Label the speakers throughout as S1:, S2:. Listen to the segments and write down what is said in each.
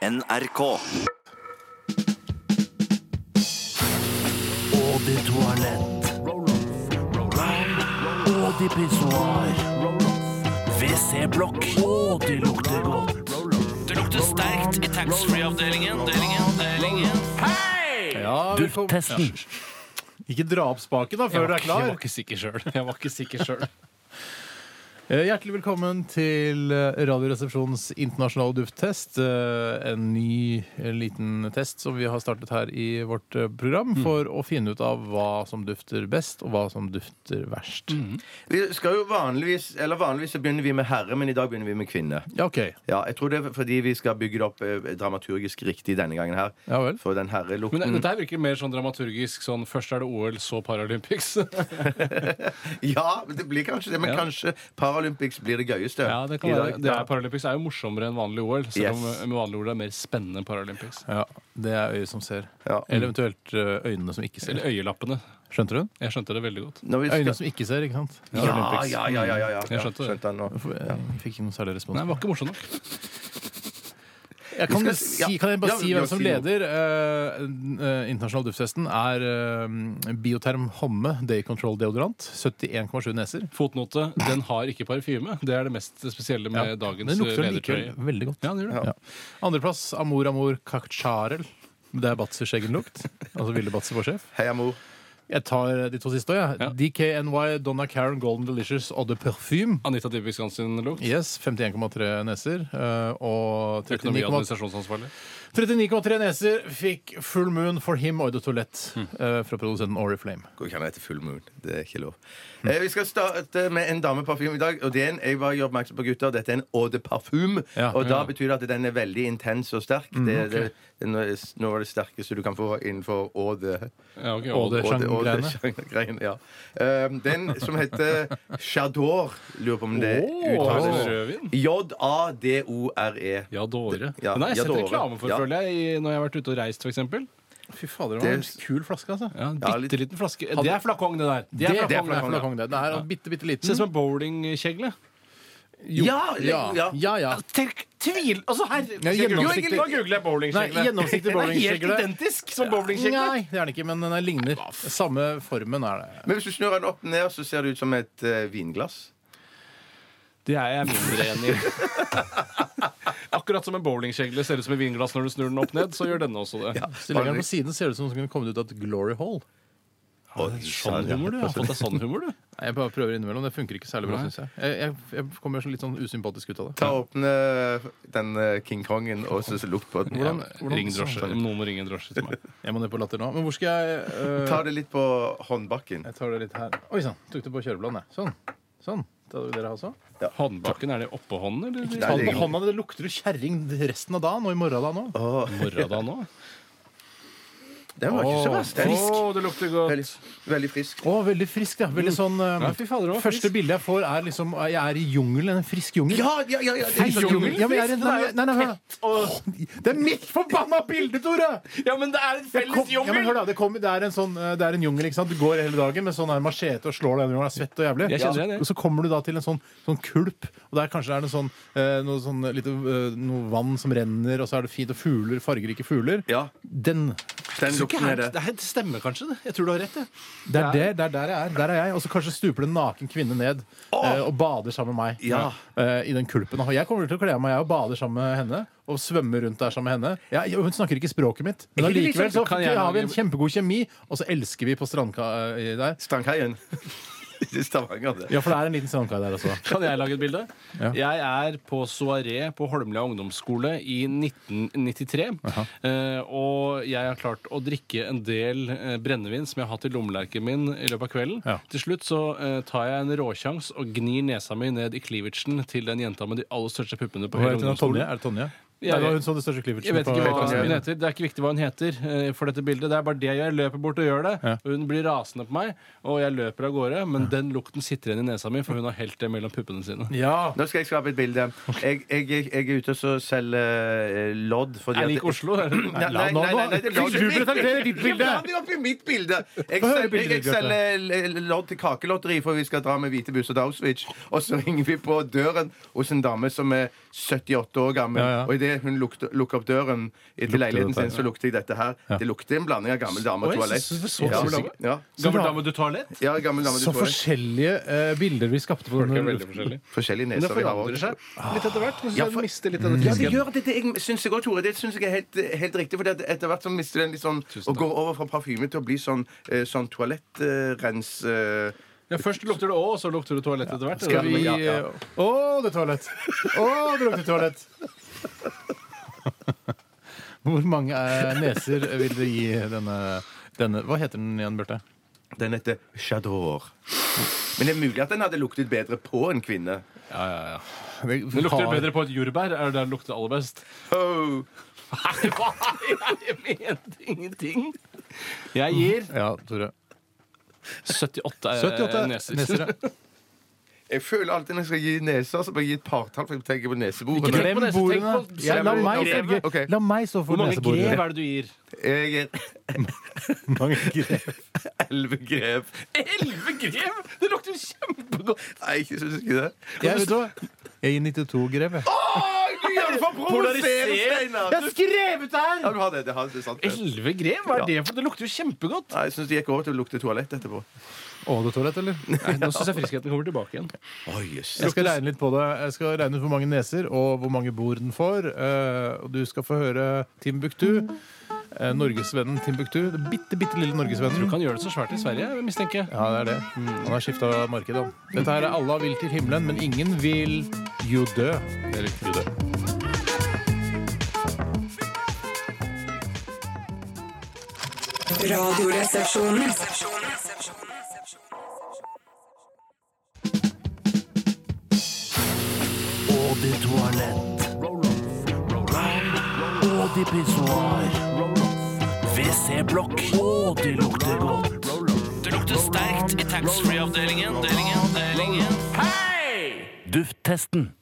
S1: NRK.
S2: Og de toalett. Og de pissoar. WC-blokk. Og de lukter godt.
S3: Det lukter sterkt i taxfree-avdelingen. Delingen, delingen.
S4: Ja, vi får-
S2: Duftesten.
S4: Ikke dra opp spaken da, før du er
S3: Jeg
S4: klar.
S3: var ikke sikker sjøl. Jeg var ikke sikker selv.
S4: Eh, Hjertelig velkommen til eh, Radioresepsjonens internasjonale dufttest. Eh, En ny eh, liten test som vi har startet her i vårt eh, program
S3: Mm.
S4: for å finne ut av hva som dufter best, og hva som dufter verst.
S3: Mm.
S5: Vi skal jo vanligvis Eller vanligvis så begynner vi med herre, men i dag begynner vi med kvinne.
S4: Ja, ok.
S5: Ja, Jeg tror det er fordi vi skal bygge det opp eh, dramaturgisk riktig denne gangen her.
S4: Ja vel.
S5: For den herrelukten
S3: Men dette her virker mer sånn dramaturgisk. sånn Først er det OL, så Paralympics.
S5: Ja, men det blir kanskje det. Men
S3: Ja.
S5: kanskje Paralympics blir det gøyeste.
S3: Ja, det kan
S5: i
S3: være.
S5: dag.
S3: Det
S5: Ja.
S3: er, Paralympics er jo morsommere enn vanlig OL. Selv om
S5: Yes.
S3: eh, vanlig OL er mer spennende enn Paralympics.
S4: Ja, Det er øyet som ser.
S5: Ja.
S4: Eller eventuelt eh, øynene som ikke ser.
S3: Mm. Eller øyelappene.
S4: Skjønte du den?
S3: Jeg skjønte det veldig godt.
S5: Når vi
S4: Øynene
S5: skal...
S4: som ikke ser, ikke sant?
S5: ja, ja, ja, ja, ja, ja.
S3: Jeg skjønte det.
S5: Ja, den nå.
S4: Hvorfor- Jeg fikk ikke noe særlig respons.
S3: Nei, det var ikke morsomt nok.
S4: Jeg kan,
S5: Vi skal
S4: jo
S5: si- ja.
S4: si, kan jeg bare
S5: Ja,
S4: si
S5: ja,
S4: hvem som
S5: si noe.
S4: leder? Eh, eh, internasjonal dufttesten er eh, Bioterm Homme Day Control Deodorant. 71,7 neser.
S3: Fotnote. Den har ikke parfyme. Det er det mest spesielle med
S4: Ja,
S3: dagens
S4: Den lukter
S3: eh,
S4: likevel
S3: ledertrøye.
S4: veldig godt.
S3: Ja, den gjør det.
S4: Ja. Andreplass Amor Amor Kakcharel. Det er Batzers egen lukt. Altså Ville Batzer, vår sjef.
S5: Hei, mor.
S4: Jeg tar eh, de to siste òg, jeg.
S3: Ja.
S4: DKNY, Donna Karen, Golden Delicious og The Perfume.
S3: Anita Dybvik sin lukt.
S4: Yes, 51,3 neser. eh, og 39,3
S3: Økonomi- og administrasjonsansvarlig.
S4: 39,3 neser fikk Full Moon for Him Oy the Toilette
S5: Mm.
S4: eh, fra produsenten Oriflame.
S5: Går ikke an å hete Full Moon. Det er ikke lov. Eh, vi skal starte med en dameparfyme i dag. Og det er en, jeg bare gjør oppmerksom på gutter, dette er en eau de parfume.
S4: Ja,
S5: og da
S3: ja. Mm,
S5: betyr det at den er veldig intens og sterk. det, det, det er noe- noe av det sterkeste du kan få innenfor eau de
S3: Ja, ok,
S4: Og det-
S5: eau de- eau de
S4: Sjangreiene.
S5: sjangreiene, Ja. Eh, den som heter Chador, lurer på om det
S3: Åh,
S5: uttales
S3: rødvin.
S5: J-a-d-o-r-e.
S3: Ja, dåre.
S5: Ja,
S3: Den har jeg
S5: ja,
S3: sett
S5: dåre.
S3: reklame for,
S5: Ja.
S3: føler jeg, i- når jeg har vært ute og reist, f.eks.
S4: Fy fader,
S5: Det-
S4: kul flaske, altså.
S3: Ja, en
S5: Ja,
S3: bitte liten flaske. Det er flakong, det der.
S4: Det er
S5: det er
S4: flakong, det. er
S5: flakong,
S4: flakong, det. Den er en bitte, bitte
S3: Ser
S4: liten.
S3: ut som en bowlingkjegle.
S4: Jo.
S5: Ja,
S4: ja, ja.
S5: ja.
S4: ja.
S3: Tenk, tvil! Altså, herre
S4: Ja, gjennomsiktig.
S3: Nå googler jeg
S4: Nei,
S3: bowlingkjegle.
S4: gjennomsiktig bowlingkjegle.
S3: Helt identisk som bowlingkjegle.
S4: Nei, det er den ikke, men den er ligner. Samme formen er det.
S5: Men hvis du snur den opp ned, så ser det ut som et eh, vinglass.
S3: Det er jeg mindre enig i. Akkurat som en bowlingkjegle ser ut som et vinglass når du snur den opp ned, så gjør denne også det.
S4: Så legger den på siden, ser det ut som om den kunne kommet ut av et glory hole.
S3: Sånn humor, du. Har fått deg sånn humor, du.
S4: Nei, Jeg bare prøver innimellom. Det funker ikke særlig bra,
S3: Nei.
S4: syns jeg. Jeg, jeg. jeg kommer så litt sånn usympatisk ut av det.
S5: Ta og åpne den eh, King Kongen og så så lukt på den.
S4: Hvordan- hvordan-
S3: Ring drosje. Noen må ringe en drosje til meg.
S4: Jeg må ned på latter nå. Men hvor skal jeg eh,
S5: Ta det litt på håndbakken.
S4: Jeg tar det litt her. Oi sann, tok det på kjørebladet. Sånn. Sånn. Da vil dere ha sånn.
S3: Håndbakken, er det oppå hånden,
S5: Nei,
S3: eller?
S4: Ta den
S5: det
S4: på
S5: er-
S4: hånda, det lukter jo kjerring resten av dagen og i morgen da nå.
S3: Morra da nå?
S5: Den var ikke så verst. Den-
S3: Å, det lukter godt.
S5: Veldig, veldig frisk.
S4: Å, veldig frisk, ja. Veldig sånn eh,
S3: Mm. Ja, fy fader, det var
S4: Første
S3: frisk.
S4: bildet jeg får, er liksom Jeg er i jungelen. En frisk jungel.
S5: Ja, ja, ja! ja det
S4: Frisk jungel. Ja, men jeg er, nei,
S3: Frisk, det
S4: nei,
S3: er jo
S4: nei, hør da. Åh, Det er mitt forbanna bilde, Tore!
S3: Ja, men det er en
S4: Jeg kom,
S3: felles
S4: ja, men
S3: jungel!
S4: hør da, det, kom, det, er en sånn, eh, det er en jungel. ikke sant? Du går hele dagen med sånn her machete og slår deg og er svett og jævlig.
S3: Jeg kjenner
S4: Ja.
S3: det, det.
S4: Og så kommer du da til en sånn, sånn kulp, og der kanskje er det sånn, eh, noe, sånn lite, eh, noe vann som renner, og så er det fint, og fugler, fargerike fugler.
S5: Ja,
S4: Den.
S5: den lukten er det.
S3: det her stemmer kanskje, det. Jeg tror du har rett. Jeg.
S4: Det er det, det er der jeg er. Der er jeg. Og så kanskje stuper det en naken kvinne ned eh, og bader sammen med meg
S5: Ja.
S4: eh, i den kulpen. Og jeg kommer til å kle av meg jeg, og bader sammen med henne. Og svømmer rundt der sammen med henne. Jeg, hun snakker ikke språket mitt, men
S3: Heldigvis
S4: allikevel så
S3: kan jeg
S4: har vi en
S3: lage-
S4: kjempegod kjemi, og så elsker vi på strandka eh, der.
S5: Strandkaien. Det er Stavanger, det.
S4: Ja, for det er en liten strandkai der altså. også.
S3: Kan jeg lage et bilde?
S4: Ja.
S3: Jeg er på soaré på Holmlia ungdomsskole i 1993. eh, og jeg har klart å drikke en del eh, brennevin som jeg har hatt i lommelerken min i løpet av kvelden.
S4: Ja.
S3: Til slutt så eh, tar jeg en råsjans og gnir nesa mi ned i cleavagen til den jenta med de aller største puppene på hele
S4: Er det Tonje?
S3: ungdomsskolen.
S4: Er det Tonje?
S3: Ja,
S4: Nei, det
S3: jeg-
S4: var hun som hadde største
S3: Jeg
S4: cleavagen
S3: vet ikke hva
S5: Tonje.
S3: hun heter. Det er ikke viktig hva hun heter. eh, for dette bildet. Det er bare det jeg gjør. Jeg løper bort og gjør det.
S4: Ja.
S3: Hun blir rasende på meg, og jeg løper av gårde. Men den lukten sitter igjen i nesa mi, for hun har helt det mellom puppene sine.
S4: Ja.
S5: Nå skal jeg skape et bilde. Jeg, jeg, jeg er ute og så selger eh, lodd. Fordi
S3: Er
S5: at-
S3: lik Oslo? er det?
S5: Nei, nei, nei, nei, nei, det er
S4: Fikk du presentere ditt bilde?
S5: Ja, det er oppi mitt bilde. Jeg
S4: Få høre
S5: selger,
S4: bildet
S5: jeg
S4: ditt, Bjarte.
S5: selger l- l- lodd til kakelotteri, for vi skal dra med hvite busser til Auschwitz. Og så ringer vi på døren hos en dame som er 78 år
S4: Ja,
S5: gammel.
S4: ja.
S5: Og idet idet hun lukte- lukka opp døren til leiligheten
S4: dette,
S5: sin, så lukter jeg dette her. Det lukter en blanding av gammel dame og
S3: Oi,
S5: toalett.
S3: så- så- så-
S5: Ja,
S3: så- så-
S5: ja.
S3: Gammel dame du tar lett?
S5: Ja, gammel dame og
S4: Så
S5: toalett.
S4: forskjellige eh, bilder vi skapte på
S3: Folk er
S4: denne
S3: veldig forskjellige.
S5: Forskjellige
S3: Men det
S5: neser vi har
S3: forandrer
S5: også.
S3: seg litt etter hvert.
S5: Ja,
S3: Så
S5: for-
S3: mister litt av den
S5: Ja, det
S3: fisken.
S5: gjør det. det jeg syns jeg òg, Tore. Det syns jeg er helt, helt riktig. For etter hvert så mister den litt sånn Og går over fra parfyme til å bli sånn, eh, sånn toalettrens... eh,
S3: Ja, først lukter det å, og så lukter det toalett etter hvert.
S4: Skal vi
S5: Ja,
S4: Å,
S5: ja.
S4: det er toalett! Å, det lukter toalett! Hvor mange eh, neser vil dere gi denne, denne Hva heter den igjen, Bjarte?
S5: Den heter Chador. Men det er mulig at den hadde luktet bedre på en kvinne.
S3: Ja, ja, ja. Det lukter bedre på et jordbær. Er det der det lukter aller best?
S5: Oh.
S3: Nei, hva? Jeg mente ingenting. Jeg gir eh,
S4: Ja, Tore.
S3: 78,
S4: 78
S3: neser.
S4: neser. ja.
S5: Jeg føler alltid når jeg skal gi neser, så bør jeg gi et partall. For jeg tenker på
S3: Ikke
S5: neseborene.
S3: det.
S4: Glem
S3: nese, tenk
S4: bordene.
S3: på-
S4: Ja, la, meg
S5: Grev.
S4: sørge-
S5: Ok.
S4: la meg stå for
S3: Hvor mange grev
S4: neseborene.
S3: er det du gir?
S5: Jeg gir
S4: Mange grev.
S5: elleve grev.
S3: Elleve grev?! Det lukter kjempegodt!
S5: Nei, jeg syns ikke det.
S4: Jeg, vet du hva? jeg gir 92 grev, jeg.
S5: Oi, du gjør det for å provosere,
S3: Polarisere.
S5: Steinar!
S4: Jeg har skrevet der!
S5: Ja, du har det. Det, har, det er sant. det.
S3: Elleve grev? Hva er det for Det lukter jo kjempegodt!
S5: Nei, jeg syns det gikk over til å lukte toalett etterpå.
S4: Å, det er toalett, eller?
S3: Nei, nå syns jeg friskheten kommer tilbake igjen.
S5: Oi, jøss.
S4: Jeg skal regne litt på det. Jeg skal regne ut hvor mange neser og hvor mange bord den får. Eh, Og du skal få høre Timbuktu. eh, Norgesvennen Timbuktu. Det bitte, bitte lille
S3: Du
S4: norgesvennen.
S3: kan gjøre det så svært i Sverige, mistenker jeg.
S4: Ja, det er det. Mm. Han har skifta marked, han. Dette her er Alla vil til himmelen, men ingen vil jo dø. Eller jo dø.
S1: Radioresepsjonen.
S2: Og de toalett. Og de pissoar. WC-blokk. Og det lukter godt. Det lukter sterkt i taxfree-avdelingen. Hei! Dufttesten.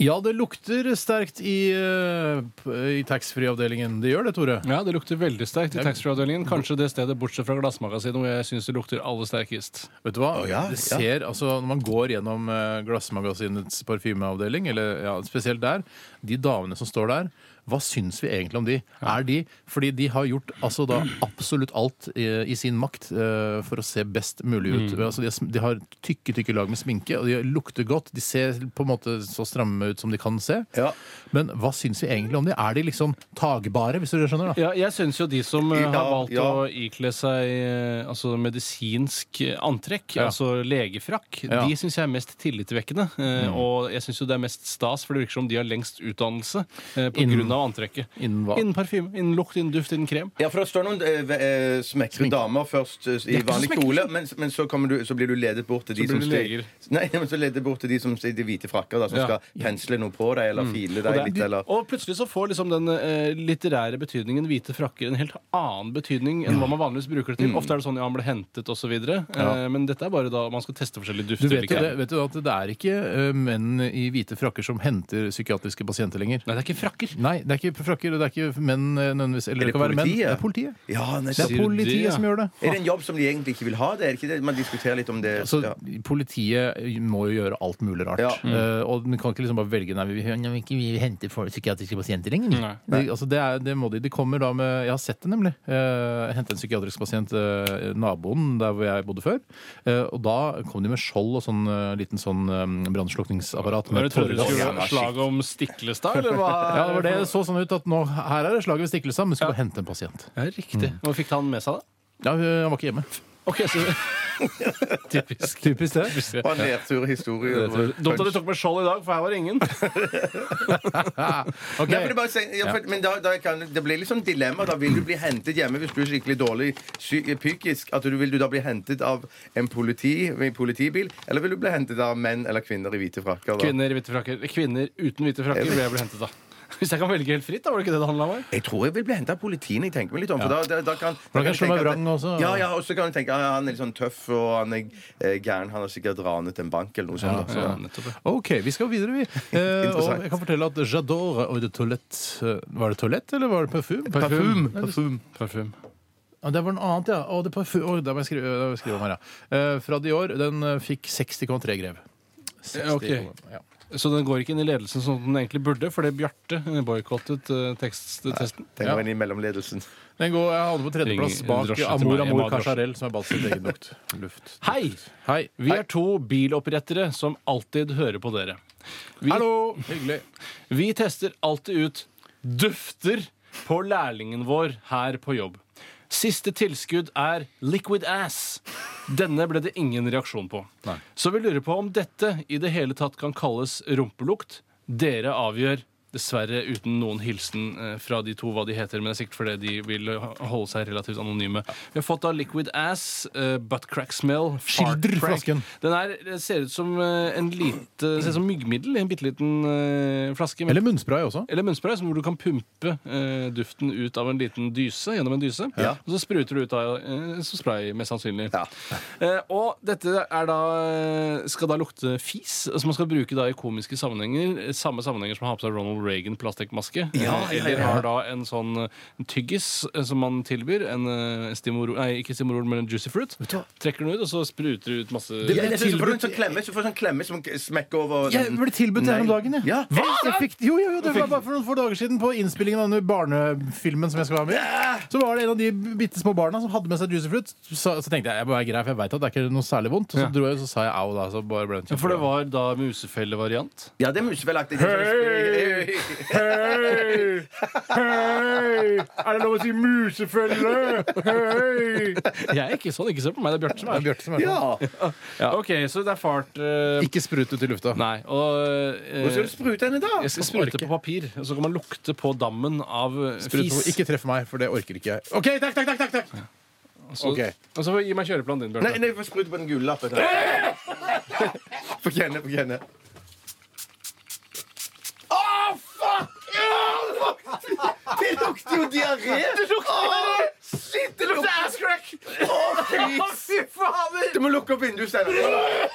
S4: Ja, det lukter sterkt i, eh, p- i taxfree-avdelingen. Det gjør det, Tore.
S3: Ja, Det lukter veldig sterkt i taxfree-avdelingen. Kanskje det stedet bortsett fra glassmagasinet hvor jeg syns det lukter aller sterkest.
S4: Vet du hva?
S5: ja,
S4: det ser, altså, når man går gjennom eh, Glassmagasinets parfymeavdeling, eller ja, spesielt der, de damene som står der, hva syns vi egentlig om de? Er de Fordi de har gjort altså, da, absolutt alt i, i sin makt eh, for å se best mulig ut.
S5: Mm.
S4: Altså, de, har, sm- de har tykke, tykke lag med sminke, og de lukter godt. De ser på en måte så stramme ut som de kan se.
S5: Ja.
S4: Men hva syns vi egentlig om de? Er de liksom tagbare, hvis du skjønner? da?
S3: Ja, jeg syns jo de som eh, har
S5: Ja,
S3: valgt
S5: ja.
S3: å ikle seg eh, altså medisinsk eh, antrekk,
S4: Ja.
S3: altså legefrakk,
S4: Ja. Mm.
S3: de syns jeg er mest tillitvekkende. eh, Og jeg syns jo det er mest stas, for det virker som de har lengst utdannelse eh, på
S4: Innen-
S3: grunn av antrekket.
S4: innen hva?
S3: Innen parfyme, innen lukt, innen duft, innen krem.
S5: Ja, for det står noen eh, ve- eh, smekre damer først eh, i vanlig kjole, men, men så, kommer du, så blir du ledet bort til de
S3: blir
S5: som
S3: du
S5: står-
S3: leger.
S5: Nei, men så ledet bort til de som sitter i hvite frakker, da, som
S3: Ja. Mm.
S5: skal pensle noe på deg eller file
S3: Og,
S5: deg
S3: det,
S5: litt, eller
S3: og plutselig så får liksom den eh, litterære betydningen hvite frakker en helt annen betydning enn hva man vanligvis bruker
S4: Mm.
S3: det til. Ofte er det sånn ja, han ble hentet osv. videre Eh, men dette er bare da man skal teste forskjellige
S4: Du
S3: dufter.
S4: vet jo,
S3: eller
S4: det, vet jo at det er ikke eh, menn i hvite frakker som henter psykiatriske pasienter lenger.
S3: Nei, det er ikke frakker.
S4: Nei, det er ikke frakker, og det er ikke menn eh, nødvendigvis. Eller det, kan være menn.
S5: politiet?
S4: Det er politiet.
S5: Ja, nei,
S4: Det
S5: så-
S4: er
S3: Sier du det,
S4: politiet
S3: ja?
S4: som gjør det.
S5: Er det en jobb som de egentlig ikke vil ha? Det er ikke det? Man diskuterer litt om det.
S3: Altså,
S4: Så
S5: ja.
S4: Politiet må jo gjøre alt mulig rart.
S5: Ja.
S3: Mm.
S4: Eh, og den kan ikke liksom bare velge Nei, vi, nei, vi, vi henter folk- psykiatriske pasienter lenger.
S3: Nei.
S4: De, altså, det, er, det må de. De kommer da med Jeg har sett det, nemlig. Uh, Hente en psykiatrisk pasient, eh, naboen der hvor jeg bodde før. Eh, og da kom de med skjold og sånn eh, liten sånn um, brannslukningsapparat.
S3: Men
S4: med
S3: du trodde det
S4: tåregass.
S3: skulle være slag om Stiklestad, eller hva?
S4: Ja, det var det det så sånn ut at nå, her er det slaget ved Stiklestad, men skal bare hente en pasient.
S3: Ja, riktig. Og fikk han med seg det?
S4: Ja, hun- han var ikke hjemme.
S3: Mm. Ok, så Typisk.
S4: Typisk det.
S5: Og en nedtur i historie.
S3: Dumt at du tok med skjold i dag, for her var det ingen.
S5: Nei, for det, bare, sier- ja, for, men da, da kan, det blir liksom dilemma. Da vil du bli hentet hjemme hvis du er skikkelig dårlig psy- psykisk. At du Vil du da bli hentet av en politi, en politibil, eller vil du bli hentet av menn eller kvinner i hvite frakker? Da?
S3: Kvinner i hvite frakker. Kvinner uten hvite frakker ble jeg ble hentet av. Hvis jeg kan velge helt fritt, da, var det ikke det det handla om? her?
S5: Jeg tror jeg vil bli henta av politiet. jeg tenker meg litt om, for da, da, da kan, da
S4: kan
S5: jeg
S4: slå
S5: tenke
S4: meg
S5: at-
S4: vrang også.
S5: Ja, ja, og så kan du tenke at han er litt sånn tøff og han er eh, gæren. Han har sikkert ranet en bank eller noe sånt. da. Så-
S3: Ja, nettopp.
S4: Ok, vi skal videre, vi. Eh, og
S5: Interessant.
S4: jeg kan fortelle at J'adore og det toalett eh, Var det toalett, eller var det parfum?
S5: Parfum. Parfum.
S3: Parfym.
S4: Ja, det var noe annet, ja. Å, det parfum. Å, der må jeg skrive, der må jeg skrive om her, ja. Eh, fra Dior. Den eh, fikk 60,3 grev. 60
S3: Ja, ok.
S4: Ja.
S3: Så den går ikke inn i ledelsen sånn som den egentlig burde, fordi Bjarte boikottet eh, tekst- testen.
S5: Den går inn i mellomledelsen.
S4: Den går, jeg hadde på tredjeplass
S3: Ring
S4: bak
S3: drosje til
S4: Amor
S3: meg. Jeg må
S4: Amor
S3: ha drosje.
S4: Cacharel, som er balt sitt eget lukt. Luft.
S3: Hei!
S4: Hei.
S3: Vi er to bilopprettere som alltid hører på dere. Vi,
S4: Hallo! Hyggelig.
S3: vi tester alltid ut dufter på lærlingen vår her på jobb. Siste tilskudd er liquid ass. Denne ble det ingen reaksjon på.
S4: Nei.
S3: Så vi lurer på om dette i det hele tatt kan kalles rumpelukt. Dere avgjør. Dessverre uten noen hilsen eh, fra de to hva de heter, men det er sikkert fordi de vil ha- holde seg relativt anonyme. Vi har fått da liquid ass, eh, butt crack smell, fart
S4: Skildrer
S3: crack.
S4: flasken.
S3: Den er, det ser ut som eh, en lite, det ser ut som myggmiddel i en bitte liten eh, flaske. med-
S4: Eller munnspray også.
S3: eller munnspray, som hvor du kan pumpe eh, duften ut av en liten dyse. gjennom en dyse,
S5: Ja.
S3: Og så spruter du ut av eh, så spray, mest sannsynlig.
S5: Ja.
S3: Eh, og dette er da, eh, skal da lukte fis, som man skal bruke da i komiske sammenhenger. eh, Samme sammenhenger som man har på seg Ronald Reagan plastikkmaske.
S5: Ja,
S3: Eh,
S5: ja,
S3: Eller
S5: ja.
S3: har da en sånn eh, tyggis eh, som man tilbyr. En eh, stimorol, nei, ikke stimorol, men en juicy fruit.
S5: du hva?
S3: Trekker den ut, og så spruter du ut masse
S5: Ja, jeg synes du får en sånn klemme, så får du en sånn klemme som smekker over
S4: Jeg ble tilbudt det her om
S5: Nei.
S4: dagen. jeg.
S5: Ja.
S4: Hva? Jeg fikk, jo, jo, jo, det var bare for noen få dager siden På innspillingen av den barnefilmen som jeg skal være med i. Så var det en av de bitte små barna som hadde med seg juicy fruit. Så, så tenkte jeg jeg bare er grei, for jeg vet at det er ikke noe særlig vondt. Og så
S3: Ja.
S4: dro jeg, så sa jeg au, da. Så bare ble den
S3: Ja, For det var da musefellevariant.
S5: Ja, det sånn- er musefelaktig.
S4: Hei! Hei! Hei! Er det lov å si musefelle? Hei!
S3: Jeg er ikke sånn. Ikke se på meg. Det er Bjarte som
S4: Det
S3: er
S4: er Bjarte som er sånn.
S5: Ja.
S3: Ja. Ok, så det er fart eh,
S4: Ikke sprut ut i lufta.
S3: Nei, og eh,
S5: Hvor skal du sprute henne, da?
S3: Jeg skal sprute på papir, og så kan man lukte på dammen av eh,
S4: Sprut
S3: fis.
S4: på- Ikke treff meg, for det orker ikke jeg. OK, takk, takk, takk! takk, takk.
S3: Så,
S4: ok.
S3: Og så får gi meg kjøreplanen din,
S5: Nei,
S3: Bjarte.
S5: nei, få sprute på den gule lappen. Få kjenne, få kjenne. Å, Oh, fuck! Ja, fuck! Det lukter jo diaré! Det lukter Oh, Shit, det lukter ass crack! Oh, Fy fader! Du må lukke opp vinduet, Steinar.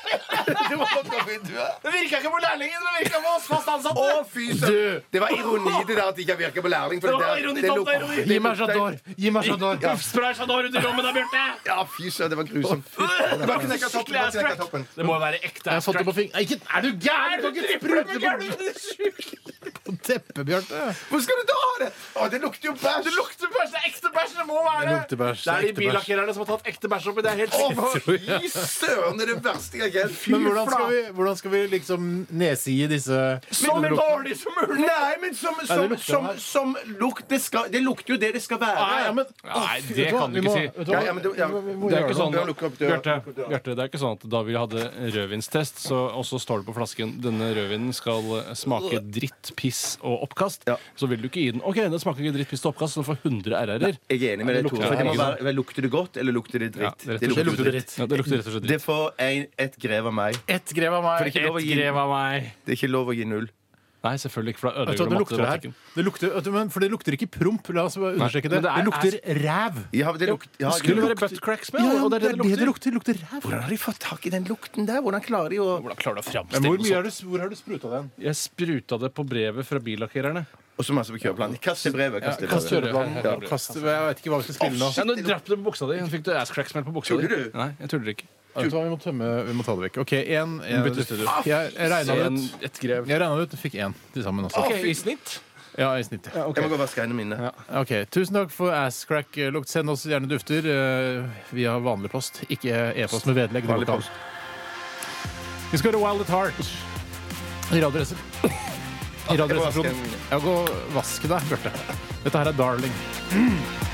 S5: Du må lukke opp vinduet.
S3: Det virka ikke på lærlingen, det virka på oss fast ansatte!
S5: Å, fy søren. Det var ironi det der at det ikke virker på lærling. For
S3: Det
S5: det
S3: var
S5: der-
S3: ironi,
S5: det
S3: tomt
S5: lukter-
S3: ironi.
S5: det
S4: Gi meg
S5: lukter-
S4: Jador! Gi meg Jador!
S5: Ja.
S3: Spray Chanor under rommet da, Bjarte!
S5: Ja, fy søren, det var grusomt. Bare knekke toppen, bare knekke toppen.
S3: Det må jo være ekte
S4: Jeg har fått det på fing... Nei, Ikke, er du gæren? Du kan ikke sprute på teppet, Bjarte!
S5: Hvor skal du da ha det? Å, det lukter jo bæsj!
S3: Det lukter bæsj! Det er ekte bæsj! Det må være
S4: Det lukter bæsj,
S3: Det
S4: det
S3: er
S4: er
S3: de
S4: ekte bæsj.
S3: billakkererne som har tatt ekte bæsj oppi. Det er helt
S5: Å,
S3: sikkert.
S5: fy søren, det er det verste jeg har
S4: Men hvordan
S5: flate.
S4: skal vi, hvordan skal vi liksom nedsige disse
S3: Så dårlig som mulig!
S5: Nei, men som, som,
S4: det lukter
S5: som,
S4: her.
S5: som lukt det, skal, det lukter jo det det skal være.
S4: Nei, ja, men,
S3: Nei,
S4: Å, fy, vet
S3: det
S4: du hva?
S3: kan du
S4: Vi
S3: ikke
S4: må-
S3: si.
S4: vet du hva?
S5: Ja, ja, men du- ja.
S4: Vi må- vi må
S3: Det er
S4: gjøre
S3: ikke sånn,
S5: Bjørn, lukk opp døra.
S3: Bjarte,
S5: Lukk opp døra.
S3: Bjarte, det er ikke sånn at da vi hadde rødvinstest, så, og så står det på flasken denne rødvinen skal eh, smake dritt, piss og oppkast,
S5: Ja.
S3: så vil du ikke gi den OK, den smaker ikke dritt, piss og oppkast, så den får 100 RR-er.
S5: Jeg er enig med deg,
S3: lukter
S5: Tore. for Det må
S3: ikke sant?
S5: være, vel, lukter det godt, eller lukter det
S3: Ja,
S5: dritt?
S3: det, rett og slett dritt. Ja, det lukter rett og slett
S5: Det
S3: dritt.
S5: får en, et grev av meg.
S4: Ett grev av meg.
S5: For det er ikke lov å gi-
S3: av meg.
S5: Det er ikke lov å gi null.
S3: Nei, selvfølgelig ikke, for da
S4: Vet du hva,
S3: ødelegger
S4: det
S3: du
S4: lukter det her.
S3: matematikken.
S4: Det lukter, vet du, men, for det lukter ikke promp. La oss bare understreke
S3: men
S4: det.
S3: det
S4: Det,
S3: er-
S4: lukter ræv.
S5: Ja, det lukter ja,
S3: Det skulle være buttcrack smell, og det er det det lukter.
S4: lukter. Det lukter ræv.
S5: Hvordan har de fått tak i den lukten der? Hvordan klarer de å
S3: Hvordan klarer du å
S4: Men hvor,
S3: framstille noe
S4: mye
S3: sånt?
S4: er du, hvor har du spruta den?
S3: Jeg spruta det på brevet fra billakkererne.
S5: Og så masse på kjøreplanen. Kast det brevet. Kast det
S4: Kast
S5: brevet.
S4: kjørebladen.
S5: Ja.
S4: Kast, jeg vet ikke hva vi skal spille nå.
S3: Ja, nå drepte du på buksa di. Nå fikk du ass crack smell på buksa di.
S5: Tuller du?
S3: Nei, jeg tuller ikke.
S4: Vet du hva, vi må tømme Vi må ta det vekk. OK, én.
S3: Bytte studio.
S4: Jeg, jeg regna det
S3: En,
S4: ut.
S3: et grev.
S4: Jeg regna det ut. Fikk én til sammen også.
S3: Ok, I snitt.
S4: Ja, i snitt. ja.
S5: Jeg må gå og vaske hendene mine.
S4: Ok, Tusen takk for asscrack-lukt. Send oss gjerne dufter eh, via vanlig post. Ikke e-post med vedlegg. Det går
S5: Vanlig
S4: ikke an.
S5: post.
S4: Vi skal høre Wild at Heart. I Radioresep- I
S5: Jeg må vaske
S4: Radioresepsjonen.
S5: hendene mine.
S4: Ja, gå og vask deg, Bjarte. Dette her er Darling.